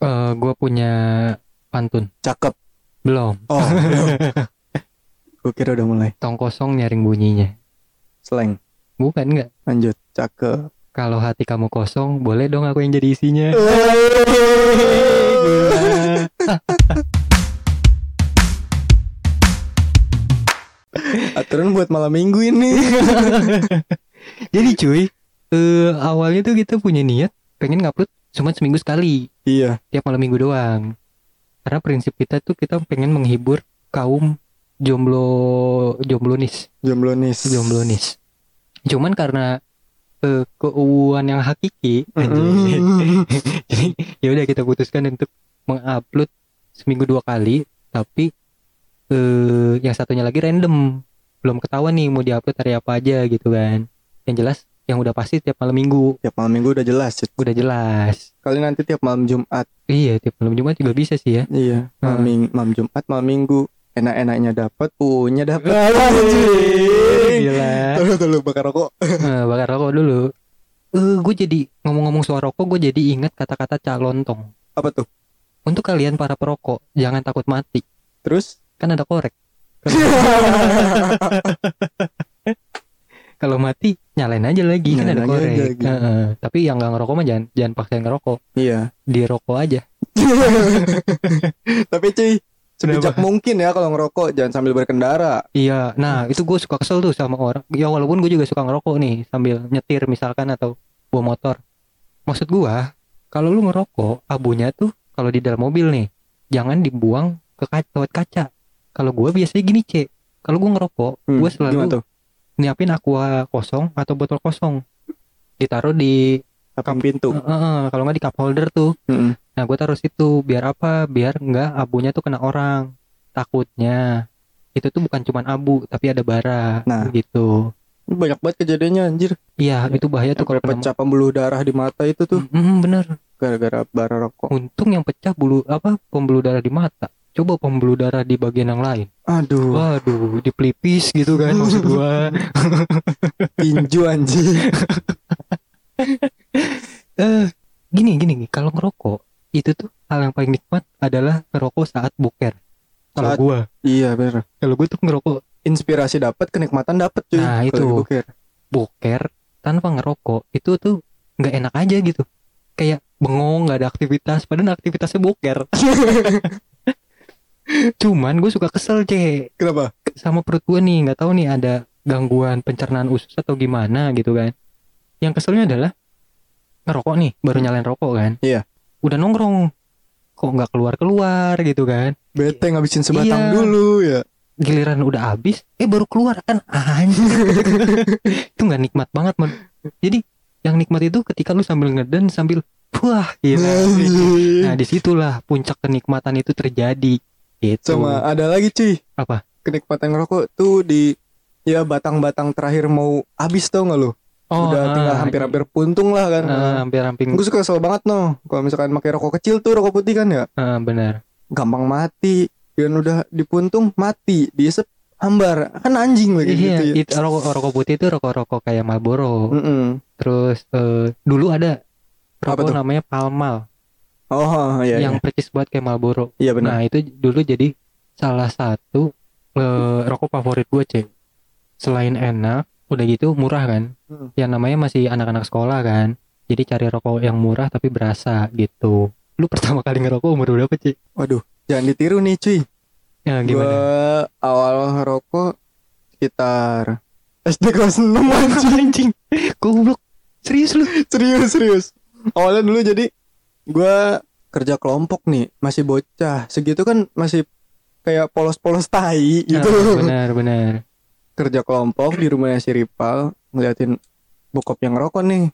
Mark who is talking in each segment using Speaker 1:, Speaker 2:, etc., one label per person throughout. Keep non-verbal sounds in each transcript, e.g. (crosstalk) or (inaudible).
Speaker 1: gue Eh, punya pantun.
Speaker 2: Cakep.
Speaker 1: Belum.
Speaker 2: Oh. gue kira udah mulai.
Speaker 1: Tong kosong nyaring bunyinya.
Speaker 2: Slang.
Speaker 1: Bukan nggak?
Speaker 2: Lanjut. Cakep.
Speaker 1: Kalau hati kamu kosong, boleh dong aku yang jadi isinya. Gila.
Speaker 2: Aturan buat malam minggu ini.
Speaker 1: Jadi cuy, eh, awalnya tuh kita punya niat pengen ngupload cuma seminggu sekali,
Speaker 2: iya.
Speaker 1: tiap malam minggu doang. Karena prinsip kita tuh kita pengen menghibur kaum jomblo jomblo nis,
Speaker 2: Jomblo nis.
Speaker 1: jomblo nis. Cuman karena eh, keuuan yang hakiki, anjing.
Speaker 2: Mm-mm.
Speaker 1: Jadi ya udah kita putuskan untuk mengupload seminggu dua kali, tapi eh yang satunya lagi random. Belum ketahuan nih mau diupload hari apa aja gitu kan. Yang jelas yang udah pasti tiap malam Minggu
Speaker 2: tiap malam minggu udah jelas. Cet.
Speaker 1: udah jelas.
Speaker 2: Kali nanti tiap malam Jumat.
Speaker 1: Iya, tiap malam Jumat juga bisa sih ya.
Speaker 2: Iya. Malam,
Speaker 1: Hmm.
Speaker 2: ming- malam Jumat, malam minggu. Enak-enaknya dapat, punya dapat.
Speaker 1: Gila.
Speaker 2: Tolong tolong bakar rokok.
Speaker 1: Eh, bakar rokok dulu. Eh, gue jadi ngomong-ngomong soal rokok, gue jadi ingat kata-kata calon tong.
Speaker 2: Apa tuh?
Speaker 1: Untuk kalian para perokok, jangan takut mati.
Speaker 2: Terus?
Speaker 1: Kan ada (laughs) korek. Kalau mati, nyalain aja lagi kan
Speaker 2: Nyalain
Speaker 1: ada
Speaker 2: aja
Speaker 1: korek.
Speaker 2: lagi.
Speaker 1: Heeh. Tapi yang nggak ngerokok mah jangan jangan paksain ngerokok.
Speaker 2: iya.
Speaker 1: Di rokok aja.
Speaker 2: Tapi cuy, sebijak
Speaker 1: Kenapa?
Speaker 2: mungkin ya kalau ngerokok jangan sambil berkendara.
Speaker 1: Iya, nah itu gue suka kesel tuh sama orang. Ya walaupun gue juga suka ngerokok nih sambil nyetir misalkan atau bawa motor. Maksud gua, kalau lu ngerokok, abunya tuh kalau di dalam mobil nih, jangan dibuang ke kaca, lewat kaca. Kalau gua biasanya gini cek, kalau gua ngerokok,
Speaker 2: Hmm,
Speaker 1: gua selalu
Speaker 2: gimana tuh?
Speaker 1: nyiapin aqua kosong atau botol kosong, ditaruh di
Speaker 2: Kapan pintu?
Speaker 1: eh, eh, eh, kalau nggak di cup holder tuh.
Speaker 2: Mm-mm.
Speaker 1: Nah gue taruh situ biar apa? Biar nggak abunya tuh kena orang. Takutnya itu tuh bukan cuman abu tapi ada bara
Speaker 2: Nah.
Speaker 1: gitu.
Speaker 2: Ini Banyak banget kejadiannya anjir.
Speaker 1: Iya itu bahaya tuh
Speaker 2: Yang
Speaker 1: kalau kena-
Speaker 2: pecah pembuluh darah di mata itu tuh
Speaker 1: Mm, bener.
Speaker 2: gara-gara bara rokok.
Speaker 1: Untung yang pecah bulu apa pembuluh darah di mata. Coba pembuluh darah di bagian yang lain.
Speaker 2: Aduh,
Speaker 1: Waduh, di pelipis gitu kan maksud gua.
Speaker 2: (laughs) tinju anjir.
Speaker 1: Eh, gini gini gini, kalau ngerokok itu tuh hal yang paling nikmat adalah ngerokok saat boker. Kalau
Speaker 2: Saat-
Speaker 1: gua,
Speaker 2: iya bener.
Speaker 1: kalau gua tuh ngerokok
Speaker 2: Inspirasi dapat, kenikmatan dapat cuy.
Speaker 1: Nah,
Speaker 2: Kalau
Speaker 1: itu.
Speaker 2: dibuker.
Speaker 1: boker tanpa ngerokok itu tuh nggak enak aja gitu kayak bengong nggak ada aktivitas padahal aktivitasnya boker cuman gue suka kesel cek
Speaker 2: Kenapa?
Speaker 1: sama perut gue nih nggak tahu nih ada gangguan pencernaan usus atau gimana gitu kan yang keselnya adalah ngerokok nih baru nyalain rokok kan
Speaker 2: Iya.
Speaker 1: udah nongkrong kok nggak keluar keluar gitu kan
Speaker 2: Bete ngabisin
Speaker 1: Iya.
Speaker 2: sebatang dulu ya.
Speaker 1: giliran udah habis eh baru keluar kan
Speaker 2: (laughs)
Speaker 1: anjir itu nggak nikmat banget man jadi yang nikmat itu ketika lu sambil ngeden sambil wah gila
Speaker 2: Anjir.
Speaker 1: Iya, nah disitulah puncak kenikmatan itu terjadi gitu
Speaker 2: Sama ada lagi cuy.
Speaker 1: Apa?
Speaker 2: Kenikmatan ngerokok tuh di ya batang-batang terakhir mau habis tau gak lu?
Speaker 1: Oh,
Speaker 2: Udah tinggal
Speaker 1: ah,
Speaker 2: hampir-hampir puntung lah kan.
Speaker 1: ah, hampir hampir
Speaker 2: Gue suka kesel banget no Kalau misalkan pakai rokok kecil tuh rokok putih kan ya
Speaker 1: ah, benar
Speaker 2: Gampang mati Dan udah dipuntung mati Diisep hambar Kan anjing (laughs) lagi
Speaker 1: iya
Speaker 2: gitu ya
Speaker 1: itu rokok rokok putih itu rokok rokok kayak Marlboro
Speaker 2: Mm-mm.
Speaker 1: terus eh, dulu ada
Speaker 2: Apa
Speaker 1: rokok
Speaker 2: tuh?
Speaker 1: namanya Palmal
Speaker 2: Oh iya
Speaker 1: yang percis banget kayak Marlboro
Speaker 2: iya. Iya benar
Speaker 1: Nah itu dulu jadi salah satu eh, rokok favorit gue cek. Selain enak, udah gitu murah kan.
Speaker 2: Hmm.
Speaker 1: Yang namanya masih anak-anak sekolah kan. Jadi cari rokok yang murah tapi berasa gitu. Lu pertama kali ngerokok umur berapa cek?
Speaker 2: Waduh Jangan ditiru nih cuy
Speaker 1: Ya
Speaker 2: Gue
Speaker 1: gimana? (laughs)
Speaker 2: awal ngerokok Sekitar SD kelas 6 (laughs) anjing
Speaker 1: anjing. Goblok. Serius lu?
Speaker 2: Serius serius Awalnya dulu jadi Gue kerja kelompok nih Masih bocah Segitu kan masih Kayak polos-polos tai gitu
Speaker 1: Nah, benar benar.
Speaker 2: kerja kelompok di rumahnya si Ripal ngeliatin bokap yang ngerokok nih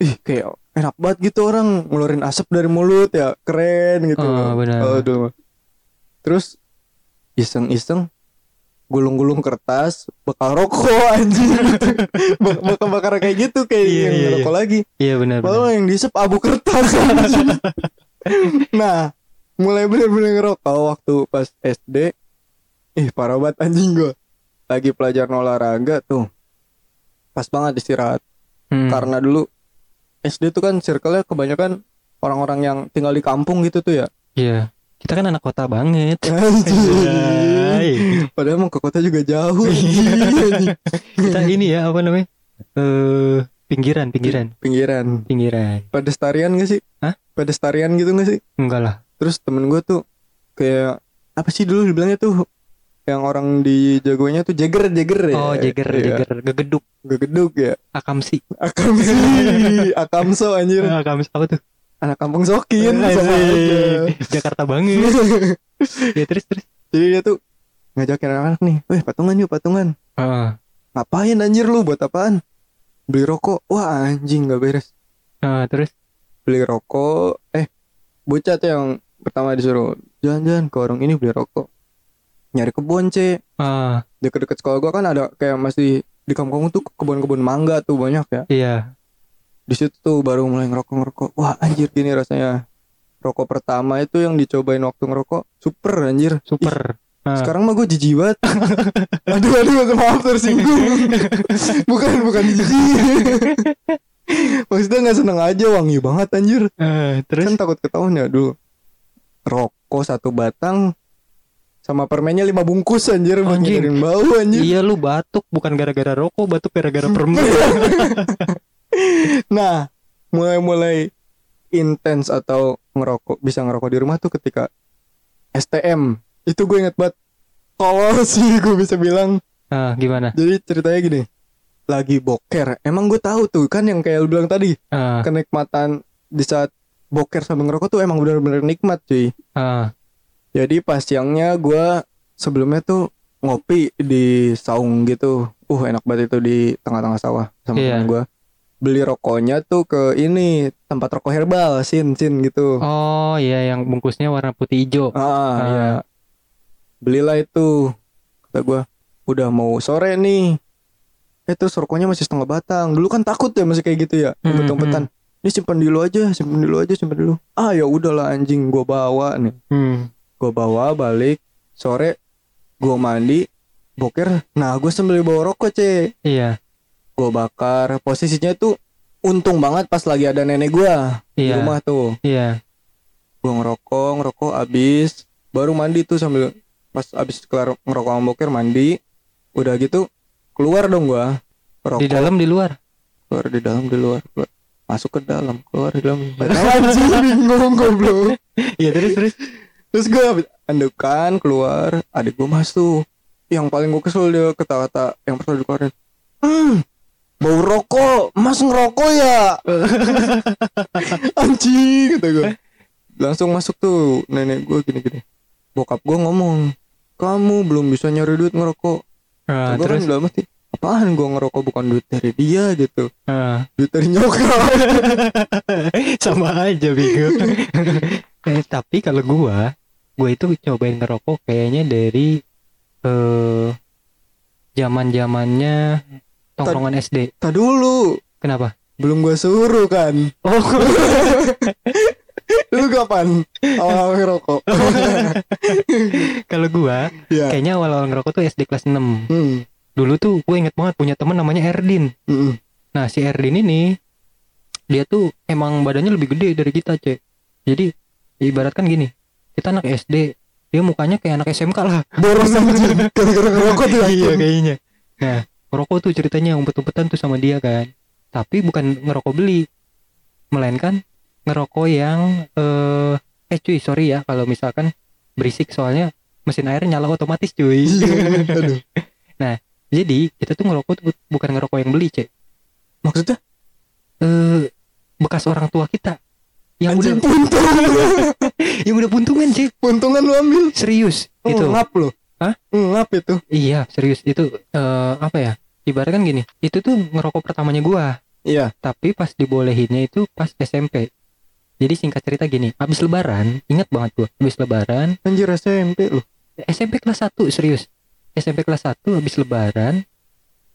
Speaker 2: ih kayak enak banget gitu orang ngeluarin asap dari mulut ya keren gitu
Speaker 1: Oh, benar.
Speaker 2: Kalau dulu mah. terus iseng-iseng gulung-gulung kertas bakal rokok (laughs) anjir bakal bakar kayak gitu kayak
Speaker 1: Iya,
Speaker 2: yang
Speaker 1: iya,
Speaker 2: ngerokok lagi
Speaker 1: Iya benar benar.
Speaker 2: Padahal yang diisep abu kertas
Speaker 1: (laughs)
Speaker 2: anjing. Nah Mulai bener-bener ngerokok Waktu pas SD Ih parah banget anjing gua Lagi pelajaran olahraga tuh Pas banget istirahat
Speaker 1: Hmm.
Speaker 2: Karena dulu SD tuh kan circle-nya kebanyakan orang-orang yang tinggal di kampung gitu
Speaker 1: (laughs)
Speaker 2: tuh ya
Speaker 1: Iya. Kita kan anak kota banget.
Speaker 2: Anjing.
Speaker 1: Anjay.
Speaker 2: padahal mau ke kota juga
Speaker 1: (laughs)
Speaker 2: jauh anjing.
Speaker 1: Kita ini ya apa namanya? Eh pinggiran, pinggiran,
Speaker 2: pinggiran
Speaker 1: pinggiran.
Speaker 2: pedestarian gak sih
Speaker 1: Hah?
Speaker 2: pedestarian gitu gak sih
Speaker 1: Enggak lah.
Speaker 2: terus temen gue tuh kayak apa sih dulu dibilangnya tuh yang orang di jagonya tuh jeger jeger ya
Speaker 1: Oh, jeger,
Speaker 2: Iya.
Speaker 1: jeger, gegeduk,
Speaker 2: gegeduk ya
Speaker 1: akamsi. Ah,
Speaker 2: akamsi akamso anjir
Speaker 1: Akamsi apa tuh?
Speaker 2: anak kampung sokin
Speaker 1: Anjing.
Speaker 2: sama
Speaker 1: iya,
Speaker 2: aja.
Speaker 1: Jakarta banget. ya terus terus.
Speaker 2: (laughs) Jadi dia tuh ngajakin anak-anak nih, weh patungan yuk patungan. Ah.
Speaker 1: Heeh.
Speaker 2: Ngapain anjir lu buat apaan? Beli rokok, wah anjing gak beres.
Speaker 1: Heeh, Ah, terus
Speaker 2: Beli rokok, eh bocah tuh yang pertama disuruh jalan-jalan ke warung ini beli rokok. Nyari kebun C,
Speaker 1: ah
Speaker 2: deket-deket sekolah gua kan ada kayak masih di kampung tuh kebun-kebun mangga tuh banyak ya.
Speaker 1: iya.
Speaker 2: Di situ tuh baru mulai ngerokok-ngerokok, wah anjir gini rasanya. Rokok pertama itu yang dicobain waktu ngerokok, super anjir.
Speaker 1: Super. Ah.
Speaker 2: Sekarang mah gue jijik
Speaker 1: (laughs)
Speaker 2: banget Aduh aduh maaf tersinggung Bukan bukan jijik (laughs) Maksudnya gak seneng aja wangi banget anjir
Speaker 1: Eh, terus
Speaker 2: Kan takut ketahuan ya dulu Rokok satu batang Sama permennya lima bungkus anjir buat
Speaker 1: Anjing.
Speaker 2: ngiringin bau anjir
Speaker 1: Iya lu batuk bukan gara-gara rokok, batuk gara-gara permen.
Speaker 2: (laughs) Nah mulai-mulai intens atau ngerokok Bisa ngerokok di rumah tuh ketika STM Itu gue inget banget Tolol (laughs) sih gue bisa bilang
Speaker 1: Ah, gimana?
Speaker 2: Jadi ceritanya gini lagi boker. Emang gue tahu tuh kan yang kayak lu bilang tadi
Speaker 1: Ah,
Speaker 2: kenikmatan di saat boker sambil ngerokok tuh emang benar-benar nikmat cuy.
Speaker 1: ah,
Speaker 2: Jadi pas siangnya gue sebelumnya tuh ngopi di saung gitu. Uh enak banget itu di tengah-tengah sawah sama
Speaker 1: Iya.
Speaker 2: temen gue. Beli rokoknya tuh ke ini tempat rokok herbal sin sin gitu.
Speaker 1: Oh iya yang bungkusnya warna putih hijau.
Speaker 2: Ah, iya. Belilah itu kata gue. Udah mau sore nih. Eh terus rokoknya masih setengah batang. Dulu kan takut ya masih kayak gitu ya,
Speaker 1: Hmm,
Speaker 2: umpet-umpetan. Ini simpan dulu aja, simpan dulu aja, simpan dulu. Ah ya udahlah anjing, gua bawa nih.
Speaker 1: Hmm.
Speaker 2: Gua bawa balik sore gua mandi boker. Nah, gua sambil bawa rokok, Ce.
Speaker 1: Iya.
Speaker 2: Gua bakar. Posisinya tuh untung banget pas lagi ada nenek gua di
Speaker 1: Iya.
Speaker 2: rumah tuh.
Speaker 1: Iya.
Speaker 2: Gua ngerokok, ngerokok abis baru mandi tuh sambil pas abis kelar ngerokok sama boker mandi. Udah gitu keluar dong gua. Rokok
Speaker 1: Di dalam di luar.
Speaker 2: keluar di dalam di luar keluar masuk ke dalam keluar di
Speaker 1: (laughs)
Speaker 2: dalam Gak tahu anjing bingung goblok
Speaker 1: Iya terus terus.
Speaker 2: terus gue andukan keluar adik gue masuk yang paling gue kesel dia kata-kata yang pertama dikeluarin hmm bau rokok mas ngerokok ya (laughs) anjing kata gue langsung masuk tuh nenek gue gini-gini bokap gue ngomong kamu belum bisa nyari duit ngerokok
Speaker 1: Ah,
Speaker 2: gue kan
Speaker 1: terus.
Speaker 2: udah mesti apaan gue ngerokok bukan duit dari dia gitu
Speaker 1: Ah.
Speaker 2: duit dari nyokap
Speaker 1: (laughs)
Speaker 2: (laughs)
Speaker 1: Sama aja bego. (laughs) eh, tapi kalau gua, gua itu cobain ngerokok kayaknya dari eh zaman-zamannya tongkrongan SD.
Speaker 2: Tak dulu
Speaker 1: Kenapa?
Speaker 2: Belum gue suruh kan
Speaker 1: Oh,
Speaker 2: Lu kapan? Awal-awal ngerokok
Speaker 1: (laughs)
Speaker 2: (laughs)
Speaker 1: kalau gua
Speaker 2: Iya
Speaker 1: kayaknya awal-awal ngerokok tuh SD kelas 6.
Speaker 2: Hmm,
Speaker 1: Dulu tuh gue inget banget punya temen namanya Erdin.
Speaker 2: hmm.
Speaker 1: Nah si Erdin ini dia tuh emang badannya lebih gede dari kita cek. Jadi ibaratkan gini, kita anak SD, dia mukanya kayak anak SMK (laughs) lah.
Speaker 2: Boros anjing Gara-gara ngerokok tuh ya?
Speaker 1: iya kayaknya. Nah ngerokok tuh ceritanya yang umpet-umpetan tuh sama dia kan. Tapi bukan ngerokok beli, melainkan ngerokok yang eh eh cuy sorry ya kalau misalkan berisik soalnya mesin air nyala otomatis (laughs) cuy.
Speaker 2: Iya. Aduh
Speaker 1: Jadi kita tuh ngerokok tuh bu- bukan ngerokok yang beli cek.
Speaker 2: Maksudnya
Speaker 1: eh bekas orang tua kita yang udah
Speaker 2: Anjing puntung
Speaker 1: yang Ya, udah puntungan sih
Speaker 2: Puntungan lu ambil
Speaker 1: serius
Speaker 2: Oh,
Speaker 1: itu
Speaker 2: Ngap lu Hmm,
Speaker 1: Hah?
Speaker 2: Ngap itu
Speaker 1: iya serius itu eh apa ya ibaratkan gini itu tuh ngerokok pertamanya gua
Speaker 2: Iya
Speaker 1: tapi pas dibolehinnya itu pas SMP jadi singkat cerita gini abis lebaran ingat banget gua abis lebaran
Speaker 2: Anjir SMP lu
Speaker 1: SMP kelas 1 serius SMP kelas 1 abis lebaran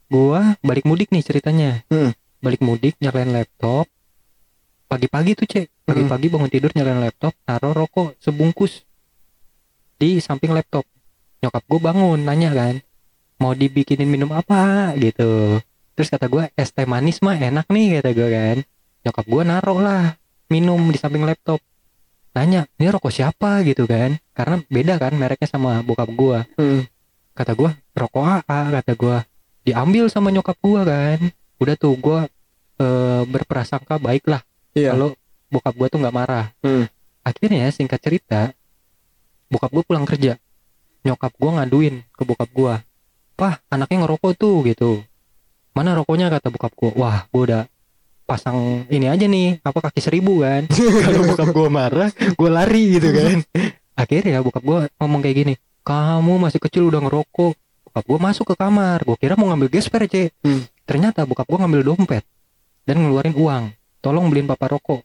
Speaker 1: gua balik mudik nih ceritanya
Speaker 2: Hmm.
Speaker 1: balik mudik nyalain laptop pagi-pagi tuh cek pagi-pagi bangun tidur nyalain laptop taruh rokok sebungkus di samping laptop nyokap gue bangun nanya kan mau dibikinin minum apa gitu terus kata gue es teh manis mah enak nih kata gue kan nyokap gue naruh lah minum di samping laptop nanya ini rokok siapa gitu kan karena beda kan mereknya sama bokap gua
Speaker 2: Hmm.
Speaker 1: kata gua rokok AA kata gua diambil sama nyokap gua kan udah tuh gua eh, berprasangka baik lah
Speaker 2: Iya. (laughs)
Speaker 1: kalau bokap gua tuh nggak marah
Speaker 2: Hmm.
Speaker 1: akhirnya singkat cerita bokap gua pulang kerja nyokap gua ngaduin ke bokap gua pah anaknya ngerokok tuh gitu mana rokoknya kata bokap gua wah gua udah pasang ini aja nih apa kaki seribu kan kalau bokap gua marah gua lari
Speaker 2: (laughs)
Speaker 1: gitu kan akhirnya bokap gua ngomong kayak gini kamu masih kecil udah ngerokok bokap gua masuk ke kamar gua kira mau ngambil gesper ce
Speaker 2: Hmm.
Speaker 1: ternyata bokap gua ngambil dompet dan ngeluarin uang tolong beliin papa rokok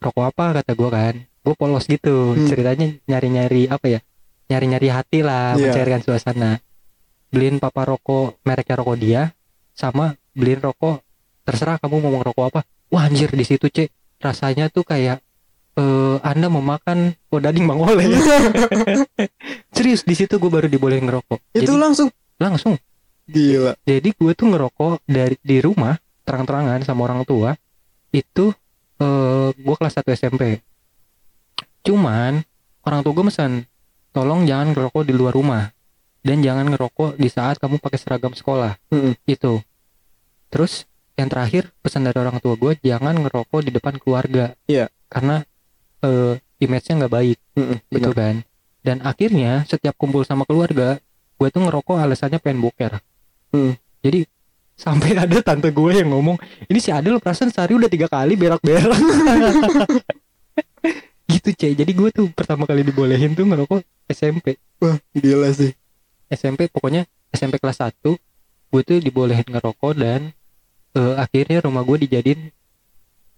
Speaker 1: rokok apa kata gua kan gua polos gitu
Speaker 2: Hmm.
Speaker 1: ceritanya nyari-nyari apa ya nyari-nyari hati lah
Speaker 2: Iya.
Speaker 1: mencairkan suasana beliin papa rokok mereknya rokok dia sama beliin rokok terserah kamu mau ngerokok apa wah anjir di situ cek rasanya tuh kayak eh anda memakan kodading bang oleh
Speaker 2: Iya.
Speaker 1: serius di situ gue baru dibolehin ngerokok
Speaker 2: Itu
Speaker 1: jadi,
Speaker 2: langsung
Speaker 1: langsung
Speaker 2: gila.
Speaker 1: jadi gue tuh ngerokok dari di rumah terang-terangan sama orang tua itu eh gue kelas 1 SMP cuman orang tua gue mesen tolong jangan ngerokok di luar rumah dan jangan ngerokok di saat kamu pakai seragam sekolah
Speaker 2: Hmm.
Speaker 1: itu terus yang terakhir pesan dari orang tua gue jangan ngerokok di depan keluarga
Speaker 2: Iya.
Speaker 1: karena eh, image-nya nggak baik
Speaker 2: Hmm.
Speaker 1: gitu kan dan akhirnya setiap kumpul sama keluarga gue tuh ngerokok alasannya pengen boker
Speaker 2: Hmm.
Speaker 1: jadi sampai ada tante gue yang ngomong ini si Adel perasaan sehari udah tiga kali berak-berak (laughs) gitu cek jadi gue tuh pertama kali dibolehin tuh ngerokok SMP
Speaker 2: Wah, gila sih.
Speaker 1: SMP pokoknya SMP kelas 1 gue tuh dibolehin ngerokok dan eh, akhirnya rumah gue dijadiin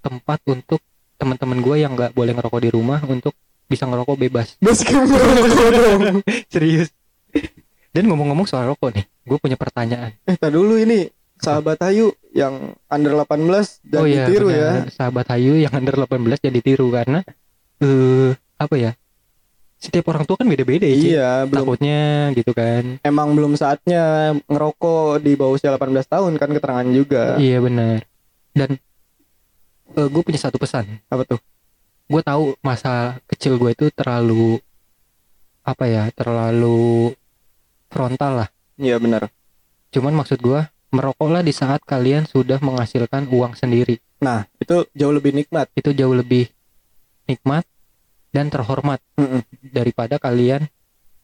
Speaker 1: tempat untuk teman-teman gue yang nggak boleh ngerokok di rumah untuk bisa ngerokok bebas
Speaker 2: Basket (laughs) ngerokok dong.
Speaker 1: Serius. Dan ngomong-ngomong soal rokok nih, gue punya pertanyaan.
Speaker 2: Eh, tak dulu ini sahabat Ayu yang under 18 dan ditiru
Speaker 1: Oh iya,
Speaker 2: ya.
Speaker 1: benar. Sahabat Ayu yang under 18 jadi tiru karena eh apa ya? Setiap orang tua kan beda-beda ya. Ci.
Speaker 2: Iya, belum
Speaker 1: Takutnya gitu kan.
Speaker 2: emang belum saatnya ngerokok di bawah usia 18 tahun kan keterangan juga.
Speaker 1: Iya benar. Dan gue punya satu pesan.
Speaker 2: Apa tuh?
Speaker 1: Gue tahu masa kecil gue itu terlalu apa ya? Terlalu frontal lah.
Speaker 2: Iya benar.
Speaker 1: Cuman maksud gue merokoklah di saat kalian sudah menghasilkan uang sendiri.
Speaker 2: Nah, itu jauh lebih nikmat.
Speaker 1: itu jauh lebih nikmat dan terhormat
Speaker 2: Mm-mm.
Speaker 1: daripada kalian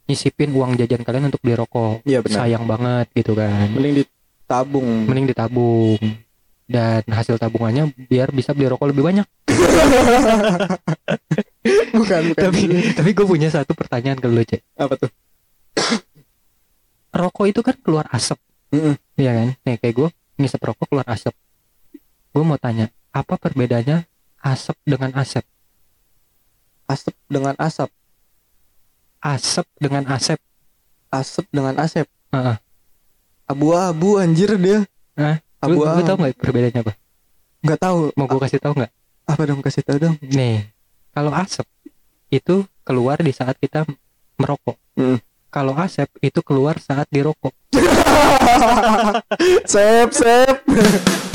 Speaker 1: nyisipin uang jajan kalian untuk beli rokok.
Speaker 2: Iya benar.
Speaker 1: Sayang banget gitu kan.
Speaker 2: Mending ditabung.
Speaker 1: Mending ditabung dan hasil tabungannya biar bisa beli rokok lebih banyak.
Speaker 2: bukan, bukan.
Speaker 1: (laughs) Tapi tapi gue punya satu pertanyaan ke lu, Cek.
Speaker 2: apa tuh?
Speaker 1: Rokok itu kan keluar asap,
Speaker 2: Mm-mm.
Speaker 1: ya kan? Nih kayak gue ngisep rokok keluar asap. Gue mau tanya, apa perbedaannya asap dengan asep?
Speaker 2: Asap dengan asap,
Speaker 1: Asap dengan asep.
Speaker 2: asap dengan asep.
Speaker 1: Heeh.
Speaker 2: Abu-abu anjir dia.
Speaker 1: Hah? Lu, lu tau
Speaker 2: Abu-abu.
Speaker 1: nggak perbedaannya apa?
Speaker 2: Enggak tahu.
Speaker 1: Mau gue kasih tau nggak?
Speaker 2: Apa dong kasih tahu (laughs) dong?
Speaker 1: Nih, kalau asap itu keluar di saat kita merokok.
Speaker 2: Mm.
Speaker 1: Kalau asap itu keluar saat dirokok.
Speaker 2: sep, sep.